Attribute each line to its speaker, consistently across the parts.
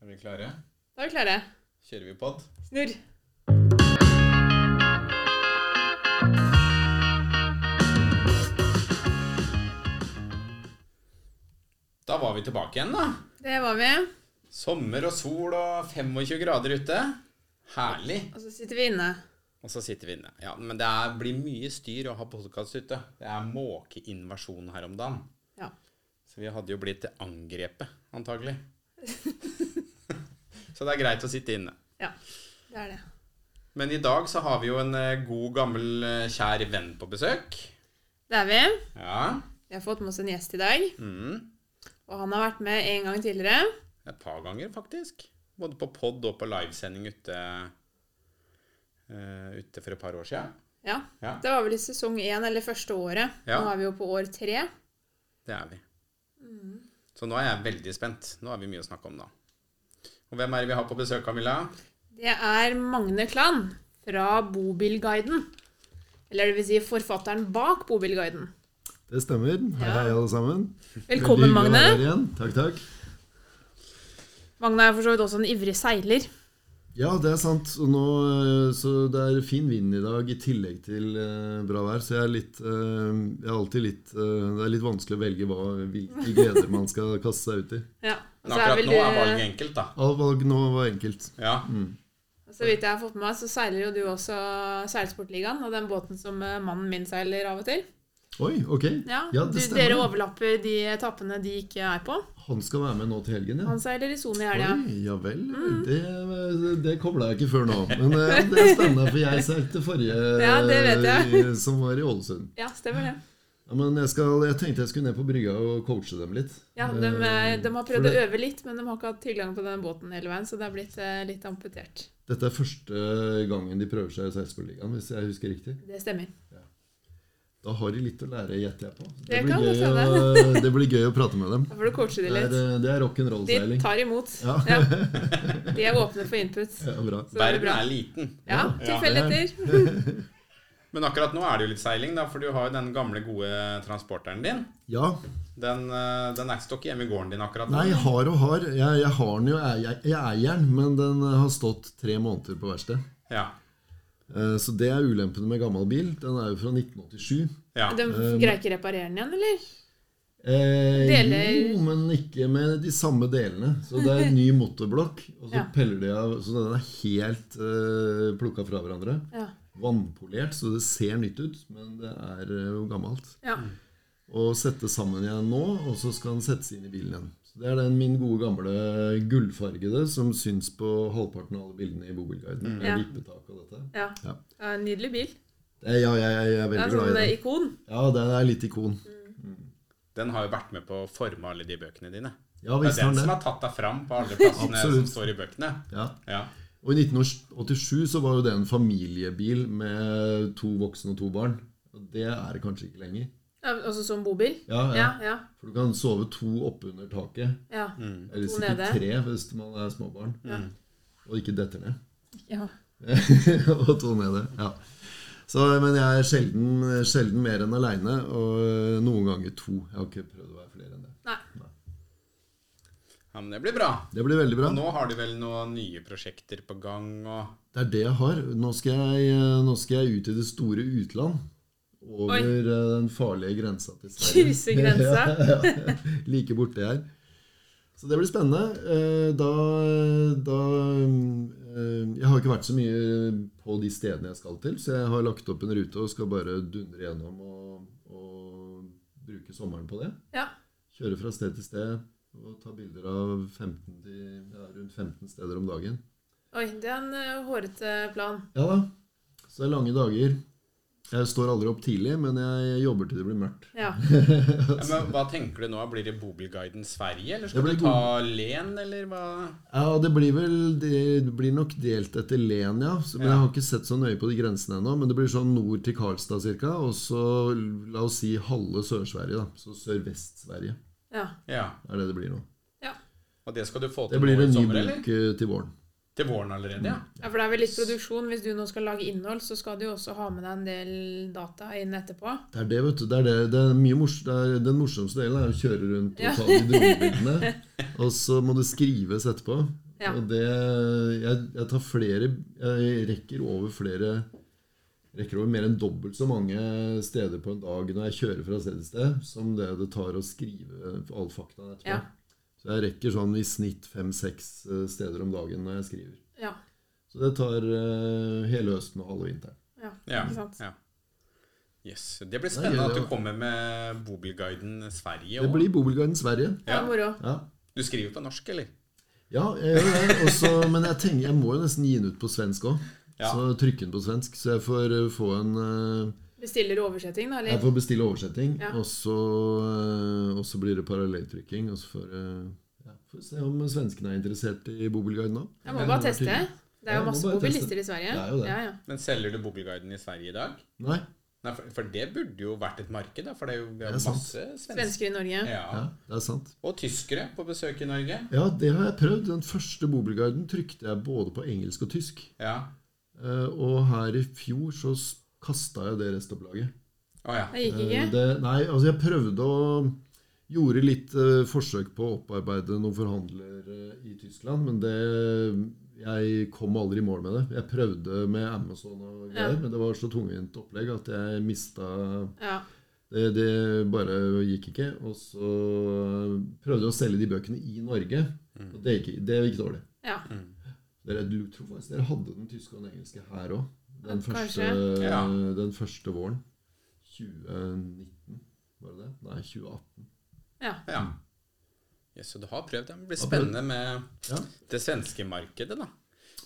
Speaker 1: Er vi klare?
Speaker 2: Da er vi klare.
Speaker 1: Kjører vi pod?
Speaker 2: Snurr.
Speaker 1: Da var vi tilbake igjen, da.
Speaker 2: Det var vi.
Speaker 1: Sommer og sol og 25 grader ute. Herlig.
Speaker 2: Og så sitter vi inne.
Speaker 1: Og så sitter vi inne. Ja, Men det er, blir mye styr å ha podkast ute. Det er måkeinvasjon her om dagen.
Speaker 2: Ja.
Speaker 1: Så vi hadde jo blitt angrepet, antagelig. så det er greit å sitte inne.
Speaker 2: Ja, det er det.
Speaker 1: Men i dag så har vi jo en eh, god, gammel, eh, kjær venn på besøk.
Speaker 2: Det er vi.
Speaker 1: Ja.
Speaker 2: Vi har fått med oss en gjest i dag.
Speaker 1: Mm.
Speaker 2: Og han har vært med en gang tidligere.
Speaker 1: Et par ganger, faktisk. Både på pod og på livesending ute, eh, ute for et par år siden.
Speaker 2: Ja.
Speaker 1: Ja.
Speaker 2: Det var vel i sesong én, eller første året.
Speaker 1: Ja.
Speaker 2: Nå er vi jo på år tre.
Speaker 1: Det er vi.
Speaker 2: Mm.
Speaker 1: Så nå er jeg veldig spent. Nå har vi mye å snakke om, da. Og hvem er det vi har på besøk, Camilla?
Speaker 2: Det er Magne Klan fra Bobilguiden. Eller det vil si forfatteren bak Bobilguiden.
Speaker 3: Det stemmer. Hei, hei, alle sammen.
Speaker 2: Velkommen,
Speaker 3: Veldig hyggelig å
Speaker 2: Magne.
Speaker 3: være her igjen. Takk, takk.
Speaker 2: Magne er for så vidt også en ivrig seiler.
Speaker 3: Ja, det er sant. Og nå, eh, så det er fin vind i dag i tillegg til eh, bra vær. Så jeg er litt eh, Jeg er alltid litt eh, Det er litt vanskelig å velge hva, hvilke gleder man skal kaste seg ut i.
Speaker 2: Ja. Og
Speaker 1: Men
Speaker 2: så er
Speaker 1: akkurat
Speaker 2: vel
Speaker 1: nå
Speaker 2: du- Mm.
Speaker 1: er valget enkelt, da.
Speaker 3: All valg nå var enkelt.
Speaker 1: Ja.
Speaker 2: Så vidt jeg har fått med meg, så seiler jo du også Seilsportligaen. Og den båten som eh, mannen min seiler av og til.
Speaker 3: Oi, ok.
Speaker 2: Ja, du,
Speaker 3: det
Speaker 2: Dere
Speaker 3: stemmer.
Speaker 2: overlapper de etappene de ikke er på.
Speaker 3: Han skal være med nå til helgen, ja.
Speaker 2: Han seiler i sone i helga.
Speaker 3: Oi, ja vel.
Speaker 2: Mm.
Speaker 3: Det, det kobla jeg ikke før nå. Men eh, det er spennende, for jeg seilte forrige,
Speaker 2: Ja, det vet jeg.
Speaker 3: eh, som var i Ålesund.
Speaker 2: Ja, stemmer det.
Speaker 3: Ja, men jeg, skal, jeg tenkte jeg skulle ned på brygga og coache dem litt.
Speaker 2: Ja, de, eh, de har prøvd
Speaker 3: For
Speaker 2: å
Speaker 3: det-
Speaker 2: øve litt, men de har ikke hatt tilgang på den båten hele veien, så det er blitt eh, litt amputert.
Speaker 3: Dette er første gangen de prøver seg i Sarpsborg-ligaen, hvis jeg husker riktig.
Speaker 2: Det stemmer.
Speaker 3: Da har de litt å lære, gjetter jeg på.
Speaker 2: Det
Speaker 3: blir
Speaker 2: kan godt
Speaker 3: gøy å, det blir gøy å prate med dem.
Speaker 2: Da får du coache de
Speaker 3: Det er, eh,
Speaker 2: litt.
Speaker 3: det er
Speaker 2: De
Speaker 3: rock'n'roll-seiling.
Speaker 2: tar imot.
Speaker 3: Ja.
Speaker 2: Ja. De er åpne for input.
Speaker 3: Ja, bra.
Speaker 2: Så det blir
Speaker 1: Verden
Speaker 2: bra.
Speaker 1: er liten.
Speaker 2: Ja,
Speaker 1: Ja.
Speaker 2: tilfeldigheter.
Speaker 1: Men akkurat nå er det jo litt seiling, da, for du har jo den gamle, gode transporteren din.
Speaker 3: Ja.
Speaker 1: Den, eh, den er ikke stokk hjemme i gården din akkurat nå.
Speaker 3: Nei, har og har. Jeg, jeg har den jo, jeg, jeg eier den, men den eh, har stått tre måneder på verksted.
Speaker 1: Ja.
Speaker 3: Eh, Så det er ulempene med gammel bil. Den er jo fra 1987.
Speaker 1: ja.
Speaker 2: De greier ikke reparere den igjen, eller?
Speaker 3: Eh,
Speaker 2: Deler-
Speaker 3: Jo, men ikke med de samme delene. Så det er en ny motorblokk, og så
Speaker 2: Ja.
Speaker 3: peller de av Så den er helt eh, plukka fra hverandre.
Speaker 2: Ja.
Speaker 3: Vannpolert, så det ser nytt ut, men det er eh, jo gammelt.
Speaker 2: ja.
Speaker 3: Og sette sammen igjen nå, og så skal den settes inn i bilen igjen. Så Det er den min gode gamle gullfargede som syns på halvparten av alle bildene i Bobilguiden.
Speaker 2: Mm. Ja.
Speaker 3: Med vippetak og dette.
Speaker 2: ja.
Speaker 3: Ja.
Speaker 2: Det er en nydelig bil.
Speaker 3: Det er- Ja, jeg, jeg er
Speaker 2: Det er
Speaker 3: veldig
Speaker 2: en
Speaker 3: glad i
Speaker 2: sånn eh,
Speaker 3: den.
Speaker 2: ikon.
Speaker 3: Ja, den er litt ikon.
Speaker 1: Den har jo vært med på å forme alle de bøkene dine.
Speaker 3: Ja,
Speaker 1: Det er
Speaker 3: visst har
Speaker 1: den som
Speaker 3: den det. sånn
Speaker 1: har tatt deg fram på alle plassene som
Speaker 3: Absolutt.
Speaker 1: står i bøkene.
Speaker 3: Ja.
Speaker 1: Ja.
Speaker 3: Og i 1987 så var jo det en familiebil med to voksne og to barn. Og det er det kanskje ikke lenger.
Speaker 2: Ja, Også som bobil?
Speaker 3: Ja, ja.
Speaker 2: Ja, ja.
Speaker 3: For du kan sove to oppunder taket.
Speaker 2: ja.
Speaker 3: Eller
Speaker 2: To
Speaker 3: sikkert
Speaker 2: nede.
Speaker 3: tre hvis man er småbarn. Og ikke detter ned.
Speaker 2: ja.
Speaker 3: og to nede. Ja. Så, men jeg er sjelden, sjelden mer enn aleine, og eh, noen ganger to. Jeg har ikke prøvd å være flere enn det.
Speaker 2: Nei.
Speaker 1: ja, men det blir bra.
Speaker 3: Det blir veldig bra.
Speaker 1: Og nå har du vel noen nye prosjekter på gang og
Speaker 3: Det er det jeg har. Nå skal jeg, eh, nå skal jeg ut i det store utland. Over
Speaker 2: Oi.
Speaker 3: eh, den farlige grensa til Sverige.
Speaker 2: Krysse grensa.
Speaker 3: like borte her. Så det blir spennende. Eh, Da, da eh, Jeg har ikke vært så mye på de stedene jeg skal til, så jeg har lagt opp en rute og skal bare dundre gjennom og, og bruke sommeren på det.
Speaker 2: Ja.
Speaker 3: Kjøre fra sted til sted og ta bilder av 15 til, ja, rundt 15 steder om dagen.
Speaker 2: Oi, det er en eh, hårete plan.
Speaker 3: Ja da. Så det er lange dager. Jeg står aldri opp tidlig, men jeg jobber til det blir mørkt.
Speaker 2: Ja.
Speaker 1: ja, men Hva tenker du nå? Blir det Bobilguiden Sverige, eller skal
Speaker 3: Det
Speaker 1: du
Speaker 3: blir
Speaker 1: ta Len, eller hva?
Speaker 3: Ja, det blir vel Det blir nok delt etter len, ja. Så, men
Speaker 1: Ja.
Speaker 3: Jeg har ikke sett så nøye på de grensene ennå. Men det blir sånn nord til Karlstad ca. Og så la oss si halve Sør-Sverige, da. Så Sørvest-Sverige
Speaker 2: ja.
Speaker 1: Ja,
Speaker 3: er det det blir nå.
Speaker 2: ja.
Speaker 1: Og det skal du få
Speaker 3: Det
Speaker 1: til
Speaker 3: blir
Speaker 1: nå i
Speaker 3: en ny
Speaker 1: sommer, eller?
Speaker 3: bok eh, til våren.
Speaker 1: Til våren allerede, ja.
Speaker 2: Ja, For det er vel litt produksjon. Hvis du nå skal lage innhold, så skal du jo også ha med deg en del data inn etterpå.
Speaker 3: Det er det, vet du. Det er det. Det er mye mors det er, den morsomste delen er å kjøre rundt og ta de dronebildene. og så må det skrives etterpå.
Speaker 2: Ja.
Speaker 3: Og det jeg, jeg tar flere Jeg rekker over flere Rekker over mer enn dobbelt så mange steder på en dag når jeg kjører fra sted til sted, som det det tar å skrive all fakta. Jeg tror.
Speaker 2: Ja.
Speaker 3: Så jeg rekker sånn i snitt fem-seks eh, steder om dagen når jeg skriver.
Speaker 2: Ja.
Speaker 3: Så det tar eh, hele høsten og halve vinteren.
Speaker 2: ja.
Speaker 1: Ja.
Speaker 2: Ikke sant?
Speaker 1: ja. Yes. Det blir
Speaker 3: Det
Speaker 1: spennende
Speaker 3: er gøy,
Speaker 1: at du
Speaker 3: ja.
Speaker 1: kommer med bobilguiden Sverige
Speaker 3: Det
Speaker 1: òg.
Speaker 3: blir Bobilgarden Sverige.
Speaker 2: Det
Speaker 1: Ja.
Speaker 2: er moro.
Speaker 3: Ja.
Speaker 1: Du skriver på norsk, eller?
Speaker 3: Ja, jeg gjør det. Også, men jeg tenker jeg må jo nesten gi den ut på svensk òg.
Speaker 1: Ja.
Speaker 3: Så trykke den på svensk. Så jeg får eh, få en eh,
Speaker 2: Bestiller oversetting, da?
Speaker 3: Jeg
Speaker 2: Eller?
Speaker 3: får bestille oversetting,
Speaker 2: Ja.
Speaker 3: og, så, eh, og så blir det parallelltrykking. Og så får eh, ja, får vi se om svenskene er interessert i Bobilguiden òg.
Speaker 2: Jeg må bare teste. Det er
Speaker 3: Ja,
Speaker 2: jo
Speaker 3: må
Speaker 2: masse
Speaker 3: bare
Speaker 2: bobilister
Speaker 3: teste.
Speaker 2: i Sverige.
Speaker 3: Det er jo det.
Speaker 2: Ja, ja.
Speaker 1: Men selger du bobilguiden i Sverige i dag?
Speaker 3: Nei.
Speaker 1: Nei, for, for det burde jo vært et marked, da. For det er jo vi har
Speaker 3: Det er sant.
Speaker 1: masse svensker.
Speaker 2: Svensker i Norge.
Speaker 1: Ja.
Speaker 3: Ja, det er sant.
Speaker 1: Og tyskere på besøk i Norge.
Speaker 3: Ja, det har jeg prøvd. Den første Bobilguiden trykte jeg både på engelsk og tysk.
Speaker 1: Ja.
Speaker 3: Eh, Og her i fjor så kasta jeg det restopplaget.
Speaker 1: Å ja.
Speaker 2: Det gikk
Speaker 3: Eh,
Speaker 2: ikke.
Speaker 3: Det, nei, altså jeg prøvde å Gjorde litt eh, forsøk på å opparbeide noen forhandlere i Tyskland, men det Jeg kom aldri i mål med det. Jeg prøvde med Amazon og greier,
Speaker 2: Ja.
Speaker 3: men det var så tungvint opplegg at jeg mista
Speaker 2: Ja.
Speaker 3: det, det bare gikk ikke. Og så prøvde jeg å selge de bøkene i Norge,
Speaker 2: Mm.
Speaker 3: og det gikk, det gikk dårlig.
Speaker 2: ja.
Speaker 3: Dere, du tror faktisk dere hadde den tyske og den engelske her òg. Den,
Speaker 2: Ja, kanskje.
Speaker 3: første-
Speaker 1: Ja.
Speaker 3: den første våren. 2019, var det det? Nei, 2018.
Speaker 2: ja.
Speaker 3: Mm.
Speaker 1: ja. Yes, så du har prøvd. ja. Det blir
Speaker 3: Har prøvd.
Speaker 1: spennende med
Speaker 3: Ja.
Speaker 1: det svenske markedet, da.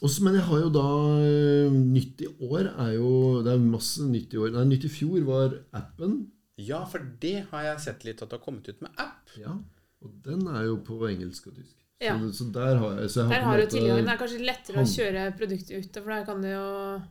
Speaker 3: Også, men jeg har jo da eh, Nytt i år er jo Det er masse nytt i år. Nei, nytt i fjor var appen.
Speaker 1: Ja, for det har jeg sett litt at du har kommet ut med app.
Speaker 3: Ja. Og den er jo på engelsk og tysk. Så,
Speaker 2: Ja.
Speaker 3: så der har jeg, så jeg
Speaker 2: Der
Speaker 3: på en
Speaker 2: har du
Speaker 3: måte-
Speaker 2: tilgangen. Det er kanskje lettere å
Speaker 3: Handel.
Speaker 2: kjøre produktet ute, for der kan du jo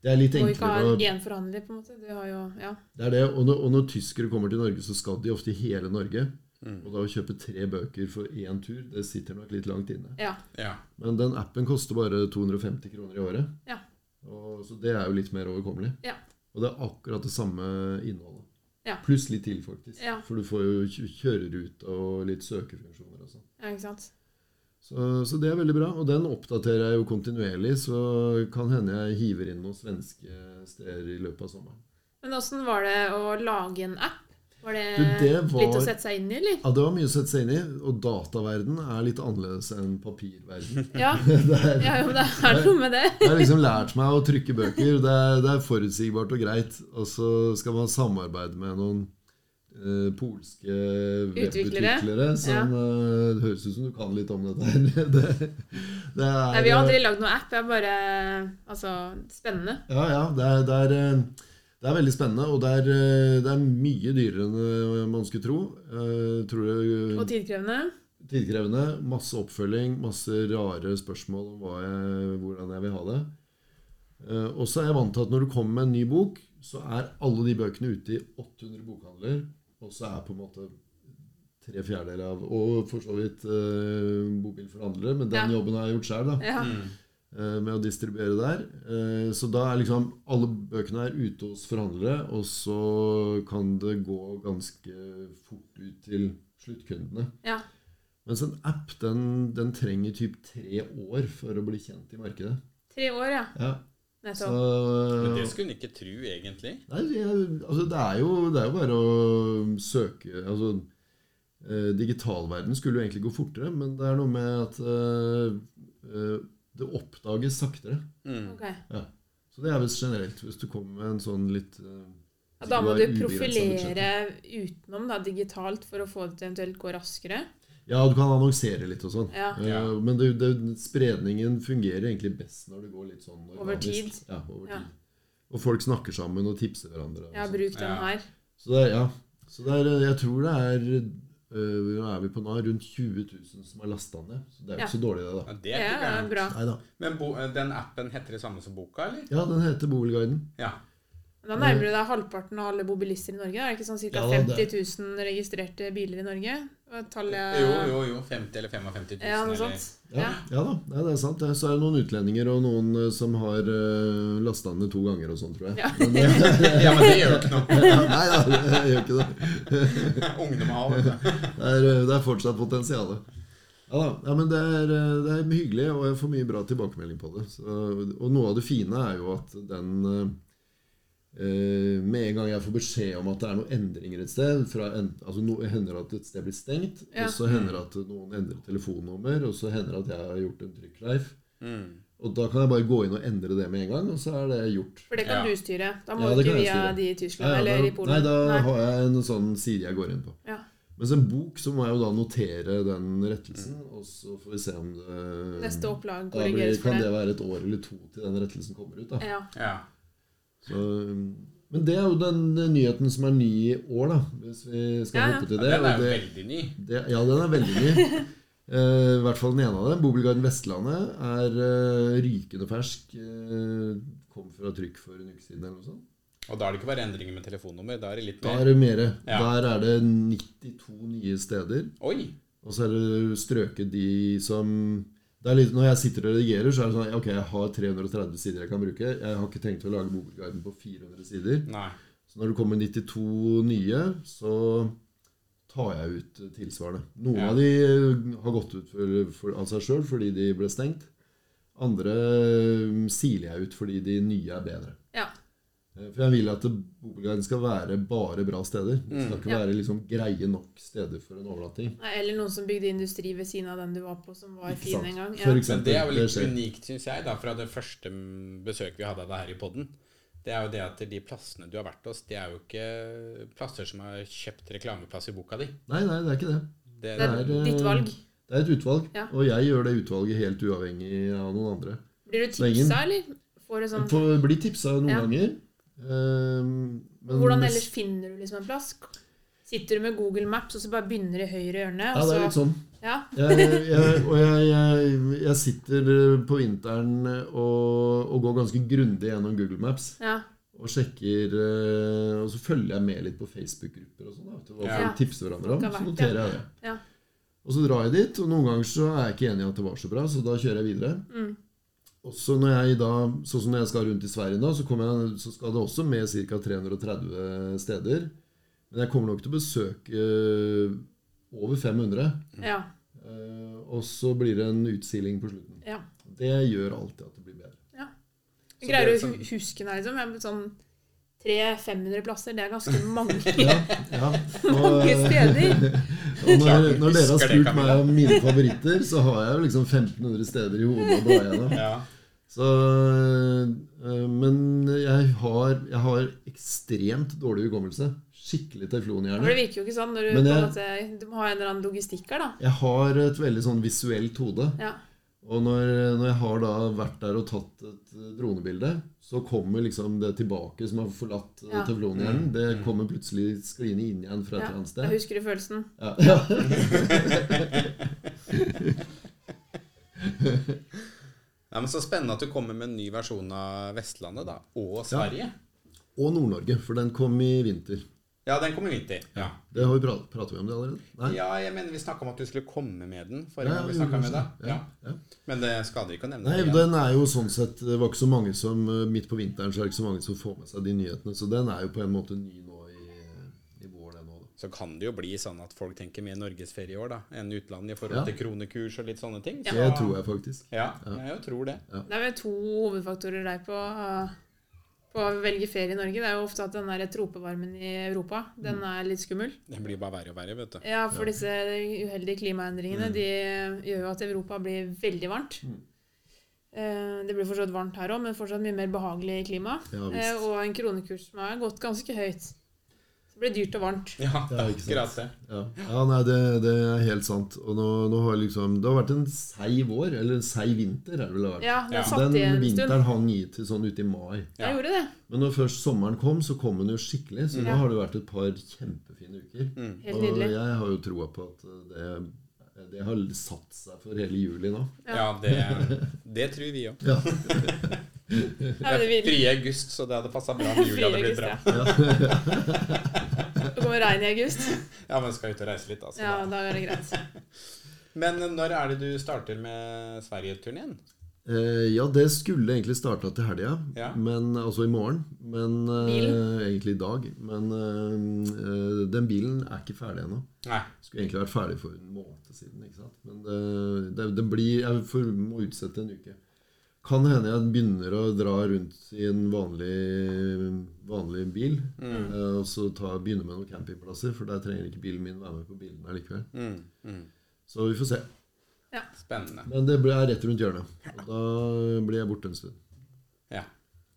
Speaker 3: Det er litt
Speaker 2: Og ikke
Speaker 3: enklere
Speaker 2: ha
Speaker 3: å
Speaker 2: én forhandler, på en måte. Du har jo Ja.
Speaker 3: Det er det. Og når, og når tyskere kommer til Norge, så skal de ofte i hele Norge. Og da å kjøpe tre bøker for én tur, det sitter nok litt langt inne.
Speaker 2: ja.
Speaker 1: Ja.
Speaker 3: Men den appen koster bare 250 kroner i året.
Speaker 2: Ja.
Speaker 3: Og, så det er jo litt mer overkommelig.
Speaker 2: Ja.
Speaker 3: Og det er akkurat det samme innholdet.
Speaker 2: Ja.
Speaker 3: Pluss litt til, faktisk.
Speaker 2: Ja.
Speaker 3: For du får jo kj- kjørerute og litt søkefunksjoner og sånn.
Speaker 2: ja ikke sant.
Speaker 3: Så, så det er veldig bra. Og den oppdaterer jeg jo kontinuerlig, så kan hende jeg hiver inn noen svenske steder i løpet av sommeren.
Speaker 2: Men åssen var det å lage en app? Var det,
Speaker 3: Du, det var-
Speaker 2: litt å sette seg inn i, eller?
Speaker 3: Ja, Det var mye å sette seg inn i. Og dataverden er litt annerledes enn papirverden.
Speaker 2: Ja,
Speaker 3: Det er,
Speaker 2: ja jo, det er noe med det.
Speaker 3: Jeg har liksom lært meg å trykke bøker. Det er, det er forutsigbart og greit. Og så skal man samarbeide med noen eh, polske
Speaker 2: Utviklere.
Speaker 3: webutviklere. Som, eh, det høres ut som du kan litt om dette her. Det, det eh, er,
Speaker 2: Nei, vi har aldri lagd noen app. Det er bare altså, spennende.
Speaker 3: Ja, ja. Det er, det er, eh, det er veldig spennende. Og det er, eh, det er mye dyrere enn man skulle tro. Eh, tror
Speaker 2: Og
Speaker 3: jeg,
Speaker 2: tidkrevende.
Speaker 3: tidkrevende. Masse oppfølging, masse rare spørsmål om hva jeg, hvordan jeg vil ha det. Eh, og så er jeg vant til at når du kommer med en ny bok, så er alle de bøkene ute i 800 bokhandler, og så er på en måte tre fjerdedeler av Og for så vidt eh, bobil for andre, men den
Speaker 2: Ja.
Speaker 3: jobben har jeg gjort sjøl, da.
Speaker 2: Ja.
Speaker 1: Mm.
Speaker 3: eh, med å distribuere der. Eh, så da er liksom alle bøkene er ute hos forhandlere, og så kan det gå ganske fort ut til sluttkundene.
Speaker 2: ja.
Speaker 3: Mens en app den, den trenger typ tre år for å bli kjent i markedet.
Speaker 2: Tre år, ja.
Speaker 3: Ja, så,
Speaker 2: Nettopp.
Speaker 1: Men det skulle hun ikke tro, egentlig.
Speaker 3: nei, jeg- altså, det, er jo, det er jo bare å søke altså, eh, Digitalverden skulle jo egentlig gå fortere, men det er noe med at eh, eh, det oppdages saktere.
Speaker 1: Mm.
Speaker 2: Ok. Ja,
Speaker 3: Ja. Så det er vel generelt, hvis du kommer med en sånn litt eh,
Speaker 2: da må
Speaker 3: har
Speaker 2: du
Speaker 3: ubegrenset
Speaker 2: profilere utenom da, digitalt for å få det til eventuelt gå raskere.
Speaker 3: Ja, du kan annonsere litt og sånn.
Speaker 2: Ja.
Speaker 3: Eh,
Speaker 1: Ja.
Speaker 3: Men det, det, spredningen fungerer egentlig best når det går litt sånn
Speaker 2: Over tid.
Speaker 3: Ja, over
Speaker 2: Ja.
Speaker 3: tid. Og folk snakker sammen og tipser hverandre. og
Speaker 2: Ja,
Speaker 3: sånn.
Speaker 2: bruk den
Speaker 1: Ja.
Speaker 2: her.
Speaker 3: Så det er, ja. Så det er, eh, jeg tror det er øh, Nå er vi på nå rundt 20 000 som har lasta ned. Så det er jo
Speaker 2: Ja.
Speaker 3: ikke så dårlig, det, da.
Speaker 1: Ja, det
Speaker 2: Ja,
Speaker 1: er ikke
Speaker 2: det er
Speaker 1: gærent.
Speaker 2: bra.
Speaker 3: Neida.
Speaker 1: Men bo, den appen heter det samme som boka, eller?
Speaker 3: Ja, den heter Boligguiden.
Speaker 1: Ja.
Speaker 2: Da nærmer du deg halvparten av alle bobilister i Norge. Er det ikke sånn ca.
Speaker 3: Mm. Ja, det-
Speaker 2: 50 000 registrerte biler i Norge? Og Tallet
Speaker 1: Jo, jo, jo. 50 eller 55 000,
Speaker 2: Ja, noe
Speaker 1: eller
Speaker 2: sånt.
Speaker 3: Ja,
Speaker 2: Ja.
Speaker 3: ja da, Nei, det er sant. det. Så er det noen utlendinger og noen øh, som har øh, lasta ned to ganger og sånn, tror jeg.
Speaker 2: Ja.
Speaker 1: Ja, men det gjør jo ikke noe.
Speaker 3: Nei da, jeg gjør ikke det.
Speaker 1: Ungdom har det.
Speaker 3: eh, Det er, øh, det er fortsatt potensial. Ja da. Ja, men det er, eh, det er hyggelig, og jeg får mye bra tilbakemelding på det. Så, og noe av det fine er jo at den eh, eh, Med en gang jeg får beskjed om at det er noen endringer et sted fra en, altså no, Hender at et sted blir stengt,
Speaker 2: Ja.
Speaker 3: og så hender det at noen endrer telefonnummer, og så hender det at jeg har gjort en trykkleif.
Speaker 1: Mm.
Speaker 3: Og da kan jeg bare gå inn og endre det med en gang, og så er det gjort.
Speaker 2: For det kan
Speaker 1: Ja.
Speaker 2: du styre. Da må
Speaker 3: Ja,
Speaker 2: du
Speaker 3: det
Speaker 2: ikke
Speaker 3: kan jeg
Speaker 2: via
Speaker 3: styre.
Speaker 2: de i Tyskland
Speaker 3: Ja, ja,
Speaker 2: eller i
Speaker 3: da,
Speaker 2: Polen.
Speaker 3: nei, da har jeg en sånn side jeg går inn på.
Speaker 2: Ja.
Speaker 3: Mens en bok, så må jeg jo da notere den rettelsen,
Speaker 1: Mm.
Speaker 3: og så får vi se om det
Speaker 2: Neste opplag
Speaker 3: da blir,
Speaker 2: korrigeres for
Speaker 3: kan det
Speaker 2: det.
Speaker 3: være et år eller to til den rettelsen kommer ut. Da.
Speaker 2: Ja.
Speaker 1: Ja.
Speaker 3: Så, um, men det er jo den nyheten som er ny i år, da, hvis vi skal
Speaker 2: Ja, ja.
Speaker 3: hoppe
Speaker 1: ja.
Speaker 3: til det.
Speaker 1: Den er
Speaker 3: og
Speaker 1: jo
Speaker 3: det,
Speaker 1: veldig ny.
Speaker 3: det ja, den er veldig ny. Eh, I hvert fall den ene av dem. Bobilgarden Vestlandet er eh, rykende fersk. eh, kom fra trykk for en uke siden eller noe sånt.
Speaker 1: Og da er det ikke bare endringer med telefonnummer. Da er det litt
Speaker 3: Da
Speaker 1: mer
Speaker 3: er det mere.
Speaker 1: Ja.
Speaker 3: Der er det 92 nye steder.
Speaker 1: Oi!
Speaker 3: Og så er det strøket de som det er litt, Når jeg sitter og redigerer, så er det sånn Ok, jeg har 330 sider jeg kan bruke. Jeg har ikke tenkt å lage Bobelguiden på 400 sider.
Speaker 1: Nei.
Speaker 3: Så når det kommer 92 nye, så tar jeg ut tilsvarende. Noen
Speaker 1: Ja.
Speaker 3: av de har gått ut for, for, av seg sjøl fordi de ble stengt. Andre mm, siler jeg ut fordi de nye er bedre.
Speaker 2: ja.
Speaker 3: Eh, For jeg vil at Bobelguiden skal være bare bra steder. Det skal ikke
Speaker 2: Ja.
Speaker 3: være liksom greie nok steder for en overnatting.
Speaker 2: Nei, Eller noen som bygde industri ved siden av den du var på, som var
Speaker 3: Ikke
Speaker 2: fin
Speaker 3: sant.
Speaker 2: en gang. Ja.
Speaker 3: For
Speaker 1: Men
Speaker 3: eksempel.
Speaker 1: det er jo litt
Speaker 3: skjer.
Speaker 1: unikt, syns jeg, da, fra det første mm, besøket vi hadde av deg her i podden. Det er jo det at de plassene du har vært hos, det er jo ikke plasser som har kjøpt reklameplass i boka di.
Speaker 3: Nei, nei, det er ikke det.
Speaker 1: Det,
Speaker 2: Det er
Speaker 3: Det er, eh,
Speaker 2: ditt valg.
Speaker 3: Det er et utvalg,
Speaker 2: Ja.
Speaker 3: og jeg gjør det utvalget helt uavhengig av noen andre.
Speaker 2: Blir du
Speaker 3: er ingen-
Speaker 2: tipsa, eller? Får du sånn
Speaker 3: Får bli tipsa noen
Speaker 2: Ja.
Speaker 3: ganger. ehm, men
Speaker 2: Hvordan
Speaker 3: mest-
Speaker 2: ellers finner du liksom en plass? Sitter du med Google Maps, og så bare begynner i høyre hjørne?
Speaker 3: Ja, det er
Speaker 2: Og
Speaker 3: litt
Speaker 2: så,
Speaker 3: sånn.
Speaker 2: ja,
Speaker 3: Jeg, jeg, og jeg, jeg, jeg sitter på vinteren og, og går ganske grundig gjennom Google Maps.
Speaker 2: ja,
Speaker 3: Og sjekker eh, Og så følger jeg med litt på Facebook-grupper og sånn. da, til Hva
Speaker 1: Ja.
Speaker 3: folk tipser hverandre om.
Speaker 2: Folk har
Speaker 3: Så
Speaker 2: vært,
Speaker 3: noterer jeg det.
Speaker 2: ja.
Speaker 3: Og så drar jeg dit, og noen ganger så er jeg ikke enig i at det var så bra, så da kjører jeg videre.
Speaker 2: Mm.
Speaker 3: Også når jeg da, sånn som når jeg skal rundt i Sverige nå, så, kommer jeg, så skal det også med ca. 330 steder. Men jeg kommer nok til å besøke eh, over 500.
Speaker 2: ja,
Speaker 3: eh, Og så blir det en utsiling på slutten.
Speaker 2: ja.
Speaker 3: Det gjør alltid at det blir bedre.
Speaker 1: Så
Speaker 2: Jeg greier
Speaker 1: det
Speaker 2: å
Speaker 1: er sånn-
Speaker 2: hu- huske deg, liksom. Jeg er sånn 300-500 plasser, det er ganske mange.
Speaker 3: Ja, ja. Og,
Speaker 2: Mange
Speaker 3: eh,
Speaker 2: steder.
Speaker 3: og
Speaker 1: Klart
Speaker 3: når,
Speaker 1: du
Speaker 3: når dere har
Speaker 1: husker det,
Speaker 3: spurt meg
Speaker 1: Camilla.
Speaker 3: om mine favoritter, så har jeg jo liksom 1500 steder i hodet å bla gjennom.
Speaker 1: ja.
Speaker 3: Så, øh, men jeg har, jeg har ekstremt dårlig hukommelse. Skikkelig
Speaker 2: For det
Speaker 3: teflonhjerne.
Speaker 2: virker jo ikke sånn når du
Speaker 3: Men
Speaker 2: på en
Speaker 3: jeg-
Speaker 2: måte, Du må ha en eller annen logistikk her, da.
Speaker 3: Jeg har et veldig sånn visuelt hode.
Speaker 2: Ja.
Speaker 3: Og når, når jeg har da vært der og tatt et øh, dronebilde, så kommer liksom det tilbake som har forlatt øh,
Speaker 2: Ja.
Speaker 3: teflonhjernen. Det
Speaker 1: Mm.
Speaker 3: kommer plutselig skliende inn igjen fra et
Speaker 2: ja.
Speaker 3: eller annet
Speaker 2: Jeg
Speaker 3: sted.
Speaker 2: husker det følelsen.
Speaker 3: Ja. Ja.
Speaker 1: Nei, men Så spennende at du kommer med en ny versjon av Vestlandet, da. Og Sverige. Ja,
Speaker 3: Og Nord-Norge, for den kom i vinter.
Speaker 1: den kommer i vinter. Ja.
Speaker 3: Det har vi prat, Prater vi om det allerede? Nei?
Speaker 1: ja, jeg mener vi snakka om at du skulle komme med den forrige
Speaker 3: Ja,
Speaker 1: gang
Speaker 3: vi
Speaker 1: vi snakka
Speaker 3: gjorde
Speaker 1: med
Speaker 3: det.
Speaker 1: deg. Ja.
Speaker 3: Ja.
Speaker 1: Men det skader ikke å nevne
Speaker 3: Nei,
Speaker 1: det. igjen.
Speaker 3: den er jo sånn sett Det var ikke så mange som eh, Midt på vinteren så er det ikke så mange som får med seg de nyhetene. Så den er jo på en måte ny nå i, i vår, den òg.
Speaker 1: Så kan det jo bli sånn at folk tenker mer norgesferie i år da, enn utlandet i forhold
Speaker 3: Ja.
Speaker 1: til kronekurs og litt sånne ting.
Speaker 3: Det tror jeg faktisk.
Speaker 1: Ja, jeg tror det.
Speaker 2: Det er vel to hovedfaktorer der på, på å velge ferie i Norge. Det er jo ofte at den der tropevarmen i Europa, den
Speaker 3: Mm.
Speaker 2: er litt skummel.
Speaker 1: Det blir bare verre og verre, vet du.
Speaker 2: Ja, for disse uheldige
Speaker 3: Mm.
Speaker 2: klimaendringene, de gjør jo at Europa blir veldig varmt. Eh, Det blir fortsatt varmt her òg, men fortsatt mye mer behagelig klima.
Speaker 3: Ja, visst.
Speaker 2: Eh, og en kronekurs som har gått ganske høyt. Så det blir dyrt og varmt.
Speaker 1: Ja, det er
Speaker 3: ikke sant.
Speaker 1: akkurat det.
Speaker 3: Ja, ja nei, det, det er helt sant. Og nå, nå har liksom Det har vært en seig vår, eller en seig vinter, er det vel det har vært.
Speaker 2: Ja, den
Speaker 1: Ja.
Speaker 2: satt i
Speaker 3: Den
Speaker 2: en stund.
Speaker 3: vinteren hang i til sånn ute i mai.
Speaker 2: Jeg gjorde det.
Speaker 3: Men når først sommeren kom, så kom den jo skikkelig. Så
Speaker 2: Mm. Ja.
Speaker 3: nå har det vært et par kjempefine uker.
Speaker 1: Mm.
Speaker 2: Helt
Speaker 3: Og
Speaker 2: nydelig.
Speaker 3: jeg har jo troa på at eh, det, det har satt seg for hele juli nå.
Speaker 2: Ja.
Speaker 1: Ja, det, det tror vi òg.
Speaker 3: Ja.
Speaker 2: Ja, men det vil-
Speaker 1: Frie august, så det hadde passa bra om juli hadde blitt bra.
Speaker 2: Det kommer regn i august.
Speaker 1: Ja, men skal ut og reise litt, altså.
Speaker 2: Ja, da er det greit.
Speaker 1: Men når er det du starter med Sverigeturneen?
Speaker 3: Eh, ja, det skulle egentlig starta til helga,
Speaker 1: Ja.
Speaker 3: men- altså i morgen. Men eh,
Speaker 2: Bilen?
Speaker 3: egentlig i dag. Men eh, eh, den bilen er ikke ferdig ennå.
Speaker 1: Nei.
Speaker 3: Skulle egentlig vært ferdig for en måned siden. ikke sant? Men det, det, det blir Jeg får, må utsette en uke. Kan hende jeg begynner å dra rundt i en vanlig, vanlig bil.
Speaker 1: Mm.
Speaker 3: eh, og så ta, begynne med noen campingplasser, for der trenger ikke bilen min være med på bilene likevel.
Speaker 1: Mm, mm.
Speaker 3: Så vi får se.
Speaker 1: Spennende.
Speaker 3: Men det blir er rett rundt hjørnet. Og da blir jeg borte en stund.
Speaker 1: Ja.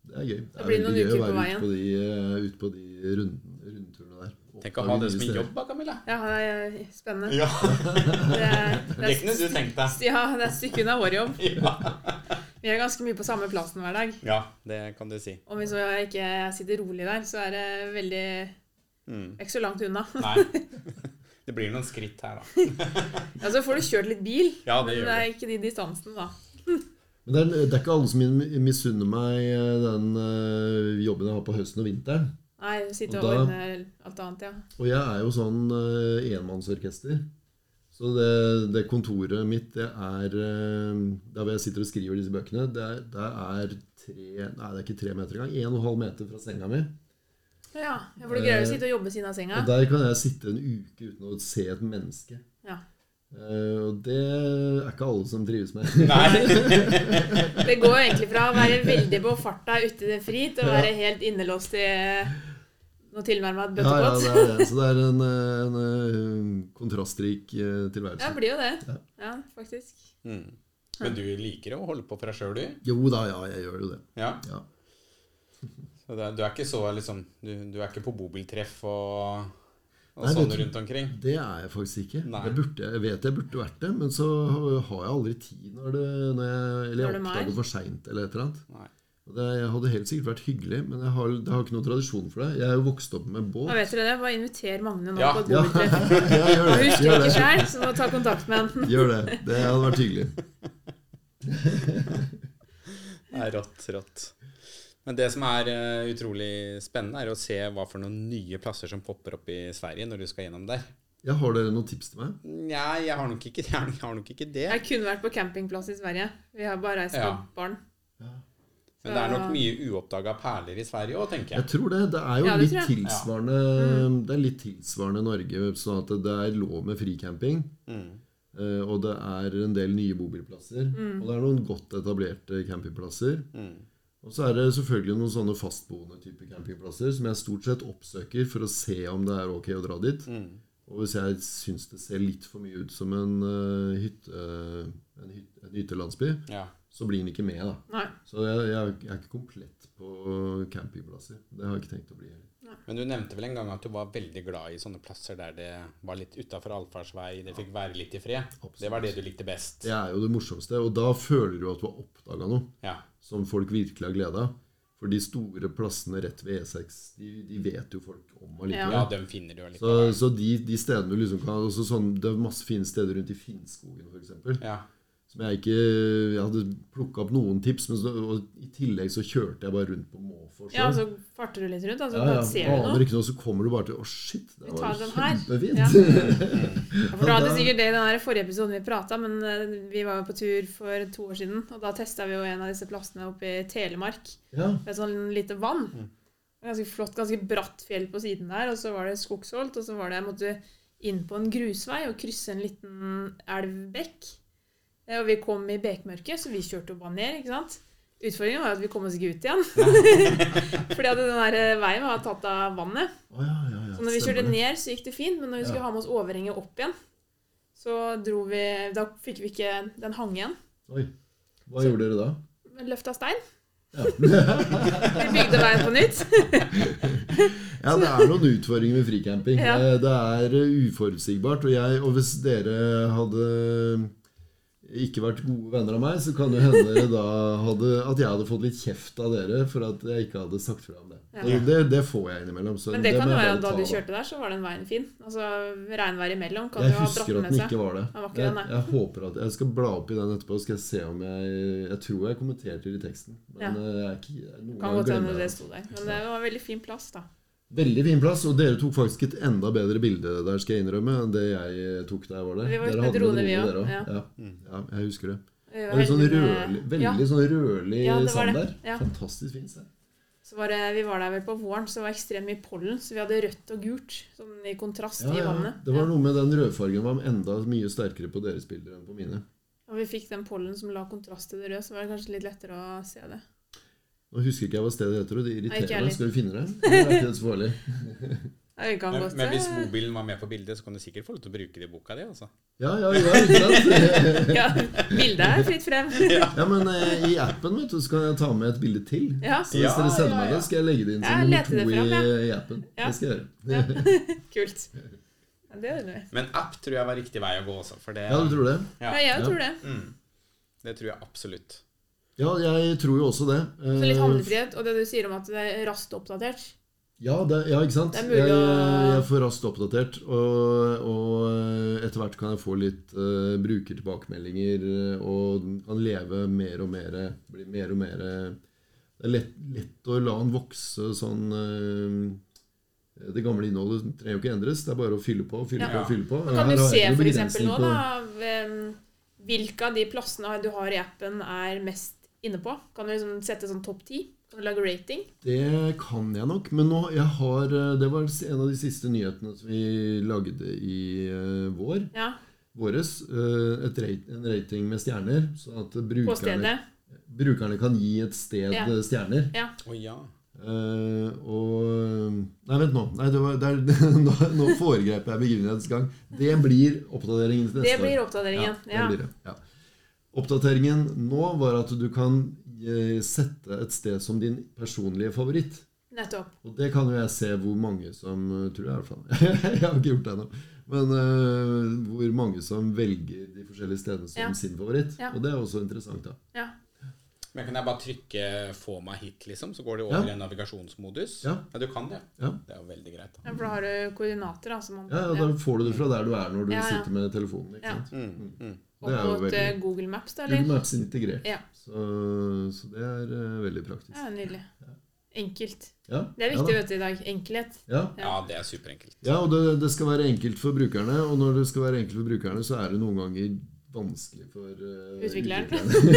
Speaker 3: Det er gøy. Det
Speaker 2: Da
Speaker 3: er
Speaker 2: blir det
Speaker 3: veldig
Speaker 2: noen
Speaker 3: gøy å
Speaker 2: uker på
Speaker 3: være
Speaker 2: veien.
Speaker 3: ute på de, eh, ute på de runden, rundturene der.
Speaker 1: Tenk å ha det som en
Speaker 3: Oppdage nye
Speaker 1: jobb da, Camilla.
Speaker 2: Ja, det er spennende.
Speaker 1: Ja,
Speaker 2: Det er,
Speaker 1: Det
Speaker 2: det er,
Speaker 1: kunne du tenkt deg.
Speaker 2: ja, det er et stykke unna vår jobb.
Speaker 1: Ja.
Speaker 2: Vi er ganske mye på samme plassen hver dag.
Speaker 1: ja, det kan du si.
Speaker 2: Om vi så ikke sitter rolig der, så er det veldig
Speaker 1: Mm.
Speaker 2: ikke så langt unna.
Speaker 1: Nei. Det blir noen skritt her, da.
Speaker 2: Ja, så får du kjørt litt bil,
Speaker 1: Ja, det
Speaker 2: men
Speaker 1: gjør
Speaker 2: det er ikke de distansene, da.
Speaker 3: Men det er, det er ikke alle som min- misunner meg eh, den eh, jobben jeg har på høsten og vinteren.
Speaker 2: Nei, sitte
Speaker 3: Og
Speaker 2: og
Speaker 3: da-
Speaker 2: ordne alt annet, ja.
Speaker 3: Og jeg er jo sånn eh, enmannsorkester. Så det, det kontoret mitt, det er eh, Der hvor jeg sitter og skriver disse bøkene, det er, det er tre Nei, det er ikke tre meter engang. En og en halv meter fra senga mi.
Speaker 2: Ja, ja, For du greier å sitte og jobbe ved siden av senga.
Speaker 3: Og der kan jeg sitte en uke uten å se et menneske.
Speaker 2: Ja.
Speaker 3: Eh, og det er ikke alle som trives med.
Speaker 1: Nei.
Speaker 2: Det går jo egentlig fra å være veldig på farta ute i det fri, til å være helt innelåst i eh, noe tilnærma et
Speaker 3: Ja, ja,
Speaker 2: bøttekott. Ja,
Speaker 3: det er det. Så det er en, eh, en eh, kontrastrik eh, tilværelse.
Speaker 2: det blir jo
Speaker 3: Ja.
Speaker 2: det. Ja, faktisk.
Speaker 1: Mm. Men du liker å holde på for deg sjøl, du?
Speaker 3: Jo da, ja, jeg gjør jo det.
Speaker 1: Ja.
Speaker 3: Ja.
Speaker 1: Så det, er- du er ikke så liksom Du, du er ikke på bobiltreff og, og
Speaker 3: Nei,
Speaker 1: sånn
Speaker 3: vet du-
Speaker 1: rundt omkring?
Speaker 3: Det er jeg faktisk ikke.
Speaker 1: Nei.
Speaker 3: Jeg, burde, jeg vet jeg burde vært det, men så har jeg aldri tid når, det, når jeg, eller
Speaker 2: Når
Speaker 3: jeg
Speaker 2: det er?
Speaker 3: oppdager for seint eller et eller annet.
Speaker 1: Nei.
Speaker 3: Og det, jeg hadde helt sikkert vært hyggelig, men jeg har, jeg har ikke noen tradisjon for det. Jeg er jo vokst opp med båt.
Speaker 2: Da vet dere det. Bare inviter Magne nå
Speaker 1: Ja.
Speaker 2: på et
Speaker 3: Ja.
Speaker 2: bordtreff.
Speaker 3: Ja, gjør
Speaker 2: Og
Speaker 3: det.
Speaker 2: Husker
Speaker 3: Gjør
Speaker 2: ikke
Speaker 3: det.
Speaker 2: sjøl, så må ta kontakt med han.
Speaker 3: Gjør det. Det hadde vært hyggelig.
Speaker 1: Det er rått, rått. Men det som er eh, utrolig spennende, er å se hva for noen nye plasser som popper opp i Sverige når du skal gjennom der.
Speaker 3: Ja, har dere noen tips til meg?
Speaker 1: Nei, jeg har nok ikke, jeg har nok ikke det.
Speaker 2: Jeg kunne vært på campingplass i Sverige. Vi har bare reist
Speaker 1: Ja.
Speaker 2: med barn.
Speaker 1: Men det er nok mye uoppdaga perler i Sverige òg, tenker
Speaker 3: Jeg
Speaker 1: jeg.
Speaker 3: tror det. Det er jo
Speaker 2: Ja, det
Speaker 3: litt
Speaker 2: tror jeg. Mm.
Speaker 3: tilsvarende Det er litt tilsvarende Norge, sånn at det er lov med fricamping.
Speaker 1: Mm.
Speaker 3: eh, Og det er en del nye bobilplasser. Og det er noen godt etablerte campingplasser.
Speaker 1: Mm.
Speaker 3: Og så er det selvfølgelig noen sånne fastboende type campingplasser som jeg stort sett oppsøker for å se om det er ok å dra dit.
Speaker 1: Mm.
Speaker 3: Og hvis jeg syns det ser litt for mye ut som en, eh, hytte, en, hyt- en hyttelandsby,
Speaker 1: Ja.
Speaker 3: så blir den ikke med, da.
Speaker 2: Nei.
Speaker 3: Så jeg, jeg, er- jeg er ikke komplett på campingplasser. Det har jeg ikke tenkt å bli. heller.
Speaker 1: Men du nevnte vel en gang at du var veldig glad i sånne plasser der det var litt utafor allfarvei, det fikk være litt i fred. Det var det du likte best.
Speaker 3: Det er jo det morsomste. Og da føler du at du har oppdaga noe
Speaker 1: Ja.
Speaker 3: som folk virkelig har glede av. For de store plassene rett ved E6, de, de vet jo folk om allikevel.
Speaker 1: ja, dem finner du jo
Speaker 3: Så,
Speaker 1: litt.
Speaker 3: så de, de stedene du liksom kan også sånn, Det er masse fine steder rundt i Finnskogen, f.eks.
Speaker 1: Ja.
Speaker 3: Som jeg ikke Jeg hadde plukka opp noen tips, men så, og i tillegg så kjørte jeg bare rundt på måfå.
Speaker 2: Ja, og så farter du litt rundt, altså.
Speaker 3: ja,
Speaker 2: Da
Speaker 3: ja,
Speaker 2: ser du
Speaker 3: aner
Speaker 2: noe.
Speaker 3: ikke noe, så kommer du bare til Å, shit, det
Speaker 2: Vi
Speaker 3: var
Speaker 2: tar
Speaker 3: jo
Speaker 2: den her.
Speaker 3: kjempefint.
Speaker 2: Ja. For da hadde sikkert det i den her forrige episoden vi prata, men eh, vi var jo på tur for to år siden, og da testa vi jo en av disse plassene oppe i Telemark.
Speaker 3: Ja.
Speaker 2: Med sånn lite vann. Ganske flott, ganske bratt fjell på siden der, og så var det skogsholt, og så var det jeg måtte inn på en grusvei og krysse en liten elvbekk. Eh, Og vi kom i bekmørket, så vi kjørte jo bare ned, ikke sant. Utfordringen var jo at vi kom oss ikke ut igjen. Fordi at den der eh, veien var tatt av vannet.
Speaker 3: Å, ja, ja, ja,
Speaker 2: Så når vi
Speaker 3: stemmer
Speaker 2: kjørte
Speaker 3: det.
Speaker 2: ned, så gikk det fint, men når vi skulle
Speaker 3: Ja.
Speaker 2: ha med oss overhenget opp igjen, så dro vi Da fikk vi ikke Den hang igjen.
Speaker 3: Oi. Hva gjorde dere da?
Speaker 2: men Løfta stein.
Speaker 3: Ja.
Speaker 2: Vi bygde veien på nytt.
Speaker 3: Ja, det er noen utfordringer med fricamping.
Speaker 2: Ja.
Speaker 3: Eh, Det er eh, uforutsigbart. Og, jeg, og hvis dere hadde ikke vært gode venner av meg, så kan det hende dere da hadde, at jeg hadde fått litt kjeft av dere for at jeg ikke hadde sagt fra om det.
Speaker 2: Ja.
Speaker 3: Det, det, det får jeg innimellom. Så
Speaker 2: Men det kan
Speaker 3: må
Speaker 2: jo
Speaker 3: jeg
Speaker 2: være at
Speaker 3: bare
Speaker 2: da
Speaker 3: ta,
Speaker 2: du kjørte der, så var den veien fin. Altså regnvær imellom kan
Speaker 3: Jeg
Speaker 2: jo ha dratt
Speaker 3: husker
Speaker 2: den
Speaker 3: at
Speaker 2: med
Speaker 3: den
Speaker 2: seg.
Speaker 3: ikke var det.
Speaker 2: Den var ikke
Speaker 3: Jeg,
Speaker 2: det, nei.
Speaker 3: jeg håper at, jeg skal bla opp i den etterpå, så skal jeg se om jeg Jeg tror jeg kommenterte det i teksten. Men
Speaker 2: Ja.
Speaker 3: eh, jeg er ikke, noen
Speaker 2: Kan
Speaker 3: ganger
Speaker 2: godt
Speaker 3: glemmer
Speaker 2: hende det
Speaker 3: jeg det.
Speaker 2: sto der. Men det var en veldig fin plass, da.
Speaker 3: Veldig fin plass, og dere tok faktisk et enda bedre bilde der, skal jeg innrømme, enn det jeg tok da jeg var der.
Speaker 2: Vi var ute
Speaker 3: Dere
Speaker 2: med
Speaker 3: hadde
Speaker 2: drone, vi
Speaker 3: dere
Speaker 2: også,
Speaker 3: også. Ja. Ja, jeg husker det.
Speaker 2: Vi
Speaker 3: Det
Speaker 2: var
Speaker 3: er litt sånn
Speaker 2: heldige
Speaker 3: rødlig,
Speaker 2: med-
Speaker 3: veldig
Speaker 2: ja,
Speaker 3: sånn rødlig
Speaker 2: Ja, det var
Speaker 3: sand der.
Speaker 2: det. Ja.
Speaker 3: Fantastisk fint sted.
Speaker 2: så var det, vi var der vel på våren, så det var ekstremt mye pollen. Så vi hadde rødt og gult sånn i kontrast
Speaker 3: Ja,
Speaker 2: i
Speaker 3: ja.
Speaker 2: vannet.
Speaker 3: Det var noe med den rødfargen var enda mye sterkere på deres bilder enn på mine.
Speaker 2: Og vi fikk den pollen som la kontrast til det røde, så var det kanskje litt lettere å se det.
Speaker 3: Nå husker ikke jeg hva stedet heter, og det
Speaker 2: Nei, ikke jeg
Speaker 3: irriterer
Speaker 2: heller.
Speaker 3: meg. Skal vi finne det? Det er ikke så farlig.
Speaker 2: Ja, vi kan
Speaker 1: Men,
Speaker 2: godt
Speaker 1: men
Speaker 2: se.
Speaker 1: hvis mobilen var med på bildet, så kan du sikkert få lov til å bruke det i boka di. Altså.
Speaker 3: Ja, ja, ja, ikke sant?
Speaker 2: ja, bildet er fritt frem.
Speaker 3: Ja, men eh, i appen vet du, så kan jeg ta med et bilde til.
Speaker 2: Ja,
Speaker 3: Så hvis
Speaker 1: Ja,
Speaker 3: dere sender
Speaker 1: ja,
Speaker 3: meg
Speaker 1: ja.
Speaker 3: det, skal jeg legge det inn
Speaker 2: Ja,
Speaker 3: som nummer
Speaker 2: lete
Speaker 3: to
Speaker 2: det fram,
Speaker 3: i, eh,
Speaker 2: ja.
Speaker 3: i appen.
Speaker 2: Ja.
Speaker 3: Det skal jeg gjøre.
Speaker 2: ja. Kult. Ja, det gjør vi.
Speaker 1: Men app tror jeg var riktig vei å gå også. For det,
Speaker 3: Ja, du tror det?
Speaker 2: Ja,
Speaker 1: Ja.
Speaker 2: jeg
Speaker 3: Ja.
Speaker 2: tror det.
Speaker 1: Mm, det tror jeg absolutt.
Speaker 3: Ja, jeg tror jo også det.
Speaker 2: Så litt
Speaker 3: Eh,
Speaker 2: handlefrihet, og det du sier om at det er raskt oppdatert.
Speaker 3: Ja, det, ja ikke sant?
Speaker 2: Det er mulig
Speaker 3: jeg,
Speaker 2: å-
Speaker 3: jeg får raskt oppdatert. Og, og etter hvert kan jeg få litt eh, brukertilbakemeldinger eh, og den kan leve mer og mer. Bli mer og mer Det er lett, lett å la den vokse sånn eh, Det gamle innholdet trenger jo ikke endres. Det er bare å fylle på fylle
Speaker 1: Ja.
Speaker 3: på, fylle på.
Speaker 2: Men kan
Speaker 3: Her
Speaker 2: du
Speaker 3: har
Speaker 2: se
Speaker 3: jeg ikke noe
Speaker 2: for eksempel
Speaker 3: begrensning
Speaker 2: nå,
Speaker 3: på-
Speaker 2: da, hvem- hvilke av de plassene du har i appen er mest inne på? Kan du liksom sette sånn topp ti? Kan du lage rating?
Speaker 3: Det kan jeg nok, men nå jeg har, eh, det var en av de siste nyhetene som vi lagde i eh, vår.
Speaker 2: Ja,
Speaker 3: Våres, eh, et rate, en rating med stjerner, sånn at
Speaker 2: på
Speaker 3: brukerne,
Speaker 2: stedet.
Speaker 3: brukerne kan gi et sted
Speaker 2: Ja.
Speaker 3: eh, stjerner.
Speaker 1: Å ja.
Speaker 3: Eh, og Nei, vent nå. Nei, det var, det er, nå, nå foregrep jeg begivenhetens gang. Det blir oppdateringen til
Speaker 2: Det
Speaker 3: neste
Speaker 2: blir
Speaker 3: år.
Speaker 2: oppdateringen.
Speaker 3: Ja,
Speaker 2: Ja.
Speaker 3: det blir det. Ja. Oppdateringen nå var at du kan eh, sette et sted som din personlige favoritt.
Speaker 2: Nettopp.
Speaker 3: Og det kan jo jeg se hvor mange som eh, Tror jeg i hvert fall. jeg har ikke gjort det ennå. Men eh, hvor mange som velger de forskjellige stedene som
Speaker 2: Ja.
Speaker 3: sin favoritt.
Speaker 2: Ja.
Speaker 3: Og det er også interessant, da.
Speaker 2: Ja.
Speaker 1: Men kan jeg bare trykke 'få meg hit', liksom? Så går det over
Speaker 3: Ja.
Speaker 1: i en navigasjonsmodus?
Speaker 3: Ja.
Speaker 1: du kan det.
Speaker 3: Ja.
Speaker 1: Det er jo veldig greit. Da.
Speaker 2: Ja, For da har du koordinater, da. Som man,
Speaker 3: Ja, ja, Da får du det fra der du er når du
Speaker 2: Ja, ja.
Speaker 3: sitter med telefonen. ikke
Speaker 2: Ja.
Speaker 3: sant?
Speaker 1: Mm, mm.
Speaker 3: Det er jo
Speaker 2: Opp mot
Speaker 3: veldig-
Speaker 2: eh, Google Maps, da,
Speaker 3: Google
Speaker 2: eller?
Speaker 3: Maps er integrert.
Speaker 2: Ja.
Speaker 3: Så, så det er eh, veldig praktisk.
Speaker 2: Ja, nydelig. Enkelt.
Speaker 3: Ja,
Speaker 2: Det er
Speaker 3: ja
Speaker 2: viktig
Speaker 3: da.
Speaker 2: vet du, i dag. Enkelhet.
Speaker 3: Ja.
Speaker 1: Ja, det er superenkelt.
Speaker 3: ja, og det, det skal være enkelt for brukerne. Og når det skal være enkelt for brukerne, så er det noen ganger vanskelig for eh,
Speaker 2: Utvikleren.
Speaker 3: utviklerne.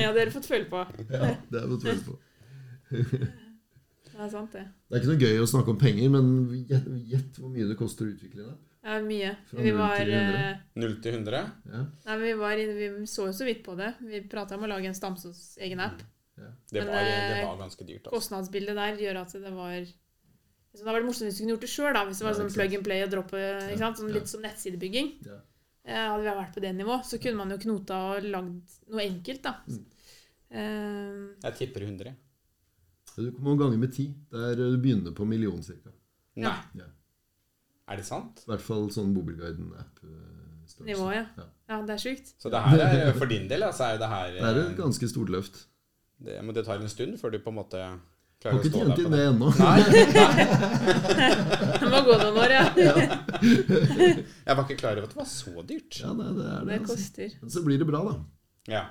Speaker 2: Ja, det har du fått føle på.
Speaker 3: ja, det er noe tvil på.
Speaker 2: Det er sant, det.
Speaker 3: Det er ikke noe gøy å snakke om penger, men gjett gjett hvor mye det koster å utvikle en app.
Speaker 2: Det er mye.
Speaker 3: Fra
Speaker 2: Vi
Speaker 3: null
Speaker 2: var,
Speaker 3: til hundre.
Speaker 2: eh,
Speaker 1: 0 til 100?
Speaker 3: Ja.
Speaker 2: nei, vi, var inne, vi så jo så vidt på det. Vi prata om å lage en Stamsås egen app.
Speaker 3: Mm,
Speaker 1: Det
Speaker 2: Men,
Speaker 1: var, det
Speaker 2: eh,
Speaker 1: var ganske dyrt. Altså.
Speaker 2: Kostnadsbildet der gjør at det var så Det hadde vært morsomt hvis du kunne gjort det sjøl. Hvis det var
Speaker 3: Ja,
Speaker 2: sånn
Speaker 3: ikke sant.
Speaker 2: plug and play og droppe, ikke sant? Sånn,
Speaker 3: ja.
Speaker 2: litt som nettsidebygging.
Speaker 3: Ja.
Speaker 2: Eh, hadde vi vært på det nivå, så kunne man jo knota og lagd noe enkelt, da.
Speaker 3: Mm.
Speaker 2: Eh,
Speaker 1: Jeg tipper 100.
Speaker 3: Du kommer mange ganger med ti. Der du begynner på million cirka.
Speaker 1: Nei.
Speaker 2: Ja.
Speaker 3: Ja.
Speaker 1: Er det sant?
Speaker 3: I hvert fall sånn Bobilguiden-app. eh, størrelse.
Speaker 2: Nivå, ja.
Speaker 3: Ja.
Speaker 2: ja, det er sjukt.
Speaker 1: Så det her er for din del, altså, er jo det her
Speaker 3: Det er
Speaker 1: eh,
Speaker 3: et ganske stort løft.
Speaker 1: det, Men det tar en stund før du på en måte
Speaker 3: Jeg har
Speaker 1: klarer å
Speaker 3: ikke
Speaker 1: stå
Speaker 3: tjent
Speaker 1: der på
Speaker 3: inn det
Speaker 1: det.
Speaker 3: ennå.
Speaker 1: Nei,
Speaker 2: Det må gå noen år, ja.
Speaker 1: jeg var ikke klar over at det var så dyrt.
Speaker 3: Ja, nei, det er det.
Speaker 2: Det
Speaker 3: Altså.
Speaker 2: koster.
Speaker 3: Men så blir det bra, da.
Speaker 1: Ja.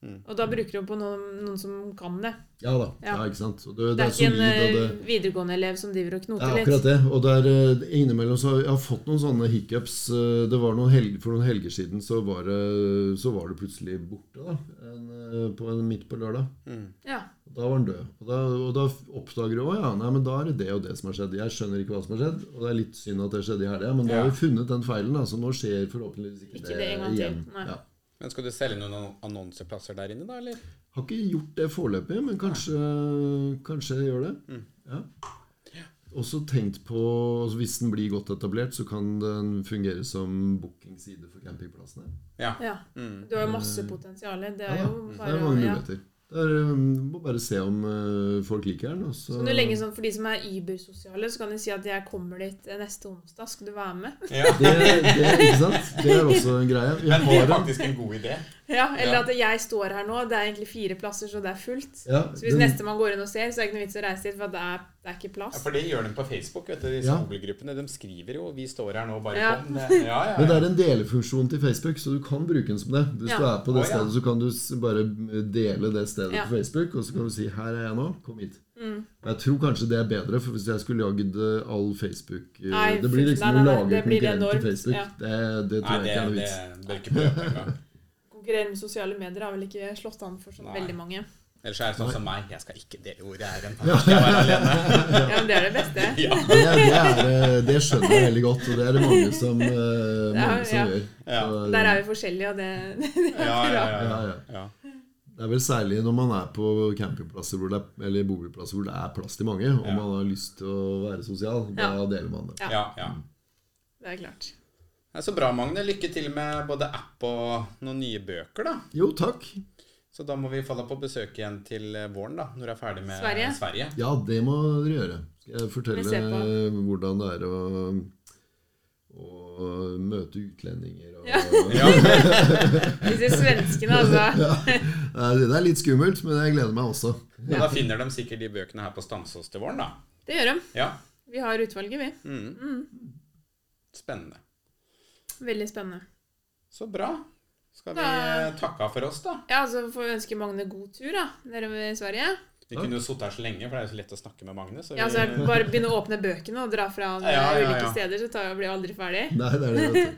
Speaker 2: Og da bruker du på noen, noen som kan det.
Speaker 3: Ja da. Ja.
Speaker 2: Ja.
Speaker 3: ikke sant. Og det,
Speaker 2: Det er
Speaker 3: det er
Speaker 2: ikke
Speaker 3: solid,
Speaker 2: en
Speaker 3: og det
Speaker 2: eh, videregående elev som driver og
Speaker 3: det
Speaker 2: knoter
Speaker 3: er akkurat
Speaker 2: litt.
Speaker 3: det. Og det er, eh, innimellom så har jeg- jeg har fått noen sånne hiccups. Eh, Det var noen helg, for noen helger siden så var det, så var det plutselig borte, da. En, eh, på en, midt på lørdag.
Speaker 1: Mm.
Speaker 2: Ja.
Speaker 3: Og Da var han død. Og da, og da oppdager du at ja, nei, men da er det det og det som har skjedd. Jeg skjønner ikke hva som har skjedd, og det er litt synd at det skjedde i helga, men nå har
Speaker 1: Ja.
Speaker 3: vi funnet den feilen, da, så nå skjer forhåpentligvis ikke,
Speaker 2: Ikke det en gang til,
Speaker 3: igjen.
Speaker 2: nei.
Speaker 3: Ja.
Speaker 1: Men skal du selge noen annon- annonseplasser der inne, da, eller?
Speaker 3: Har ikke gjort det foreløpig, men kanskje, kanskje jeg gjør det.
Speaker 2: Mm.
Speaker 3: Ja. Også tenkt på altså Hvis den blir godt etablert, så kan den fungere som bookingside for campingplassene.
Speaker 2: ja.
Speaker 1: Mm.
Speaker 2: Du har jo masse potensial. Det er
Speaker 3: Ja,
Speaker 2: jo
Speaker 3: Det
Speaker 2: bare
Speaker 3: er
Speaker 2: å
Speaker 3: mange
Speaker 2: ja.
Speaker 3: muligheter. Det er, um, må bare se om uh, folk liker den. Og så,
Speaker 2: Så når du legger sånn, For de som er übersosiale, så kan de si at 'jeg kommer dit eh, neste onsdag, skal du være med?'
Speaker 1: Ja.
Speaker 3: det, det, ikke sant? det er også en greie.
Speaker 1: Men
Speaker 3: Jeg
Speaker 1: det
Speaker 3: har
Speaker 1: er
Speaker 3: en,
Speaker 1: faktisk en god idé.
Speaker 2: Ja, Eller
Speaker 1: Ja.
Speaker 2: at 'jeg står her nå', det er egentlig fire plasser, så det er fullt.
Speaker 3: ja,
Speaker 2: Så hvis
Speaker 3: den,
Speaker 2: neste man går inn og ser, så er det ikke noe vits i å reise dit, for det er, det er ikke
Speaker 1: Ja,
Speaker 2: plass.
Speaker 1: for det gjør de på Facebook, vet du. Disse
Speaker 3: Ja.
Speaker 1: Google-gruppene. De skriver jo 'Vi står her nå, bare
Speaker 2: Ja.
Speaker 1: kom'. Det- Ja, ja,
Speaker 3: men det
Speaker 1: ja.
Speaker 3: er en delefunksjon til Facebook, så du kan bruke den som det. Hvis
Speaker 2: Ja.
Speaker 3: du er på det
Speaker 1: Å, ja.
Speaker 3: stedet, så kan du s- bare dele det stedet
Speaker 2: Ja.
Speaker 3: på Facebook, og så kan du si 'her er jeg nå, kom hit'.
Speaker 2: Mm.
Speaker 3: Jeg tror kanskje det er bedre, for hvis jeg skulle lagd eh, all Facebook eh,
Speaker 2: Nei,
Speaker 3: Det blir
Speaker 2: fy- nei,
Speaker 3: liksom
Speaker 2: nei,
Speaker 3: å
Speaker 2: nei,
Speaker 3: lage
Speaker 2: det blir
Speaker 3: konkurrent til
Speaker 2: enormt,
Speaker 3: Facebook.
Speaker 2: ja.
Speaker 3: Det, det tror
Speaker 1: Nei,
Speaker 3: jeg
Speaker 1: det,
Speaker 3: ikke er noe
Speaker 1: det,
Speaker 3: vits.
Speaker 1: det, bør ikke prøve på engang.
Speaker 2: Konkurrere med sosiale medier har vel ikke slått an for så
Speaker 1: Nei.
Speaker 2: veldig mange.
Speaker 1: Ellers er det sånn som meg. Jeg skal ikke dele hvor jeg er hen. Jeg skal være alene.
Speaker 2: Ja, men Det er det beste.
Speaker 1: Ja,
Speaker 3: Det, er- det, er, eh, det skjønner jeg veldig godt, og det er det mange som, eh, mange som
Speaker 2: ja.
Speaker 3: gjør.
Speaker 1: Ja.
Speaker 3: Så,
Speaker 2: Der er vi forskjellige, og det, det er
Speaker 1: ja, ja,
Speaker 2: bra.
Speaker 1: ja,
Speaker 3: ja, ja.
Speaker 1: ja.
Speaker 3: Det er vel særlig når man er på campingplasser hvor det er, eller boligplasser hvor det er plass til mange, og
Speaker 1: Ja.
Speaker 3: man har lyst til å være sosial. Da
Speaker 2: Ja.
Speaker 3: deler man det.
Speaker 2: Ja.
Speaker 1: ja, ja.
Speaker 2: Det er klart.
Speaker 1: Det er så bra, Magne. Lykke til med både app og noen nye bøker, da.
Speaker 3: Jo, takk.
Speaker 1: Så da må vi falle på besøk igjen til eh, våren, da. Når du er ferdig med Sverige.
Speaker 2: Sverige.
Speaker 3: Ja, det må dere gjøre. Skal jeg
Speaker 2: Vi ser
Speaker 3: fortelle hvordan det er å, å møte utlendinger og
Speaker 1: Ja.
Speaker 2: Disse svenskene, altså.
Speaker 3: Nei, Det er litt skummelt, men jeg gleder meg også.
Speaker 1: Og da finner de sikkert de bøkene her på Stamsås til våren, da.
Speaker 2: Det gjør de.
Speaker 1: Ja.
Speaker 2: Vi har utvalget, vi.
Speaker 1: Mm. Spennende.
Speaker 2: Veldig spennende.
Speaker 1: Så bra. Skal vi eh,
Speaker 2: Da-
Speaker 1: takke av for oss, da?
Speaker 2: Ja, altså får vi ønske Magne god tur da, nede i Sverige.
Speaker 1: Vi kunne jo sittet her så lenge, for det er jo så lett å snakke med Magne. Så vi,
Speaker 2: Ja, altså Bare begynne å åpne bøkene og dra fra
Speaker 1: Ja, ja, ja,
Speaker 2: ulike
Speaker 1: ja.
Speaker 2: steder, så tar, blir vi aldri ferdig.
Speaker 3: Nei, det er det. Vet du.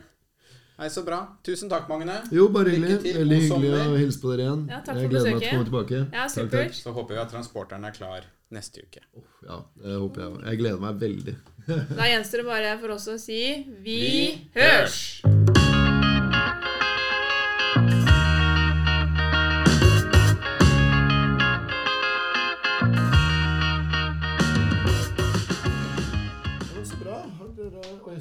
Speaker 1: Nei, så bra. Tusen takk, Magne.
Speaker 3: Jo, bare
Speaker 1: Lykke
Speaker 3: hyggelig.
Speaker 1: til,
Speaker 3: Veldig
Speaker 1: god
Speaker 3: hyggelig
Speaker 1: sommer.
Speaker 3: å hilse på dere igjen.
Speaker 2: Ja, takk
Speaker 3: jeg
Speaker 2: for
Speaker 3: gleder meg til å
Speaker 2: besøket.
Speaker 3: komme tilbake.
Speaker 2: Ja,
Speaker 3: Takk, takk.
Speaker 2: supert.
Speaker 1: Så håper vi at transporteren er klar neste uke.
Speaker 3: Ja, det håper jeg. Jeg gleder meg veldig.
Speaker 2: Da gjenstår det bare for oss å si vi, hørs!
Speaker 3: Det var så bra. Har dere Oi,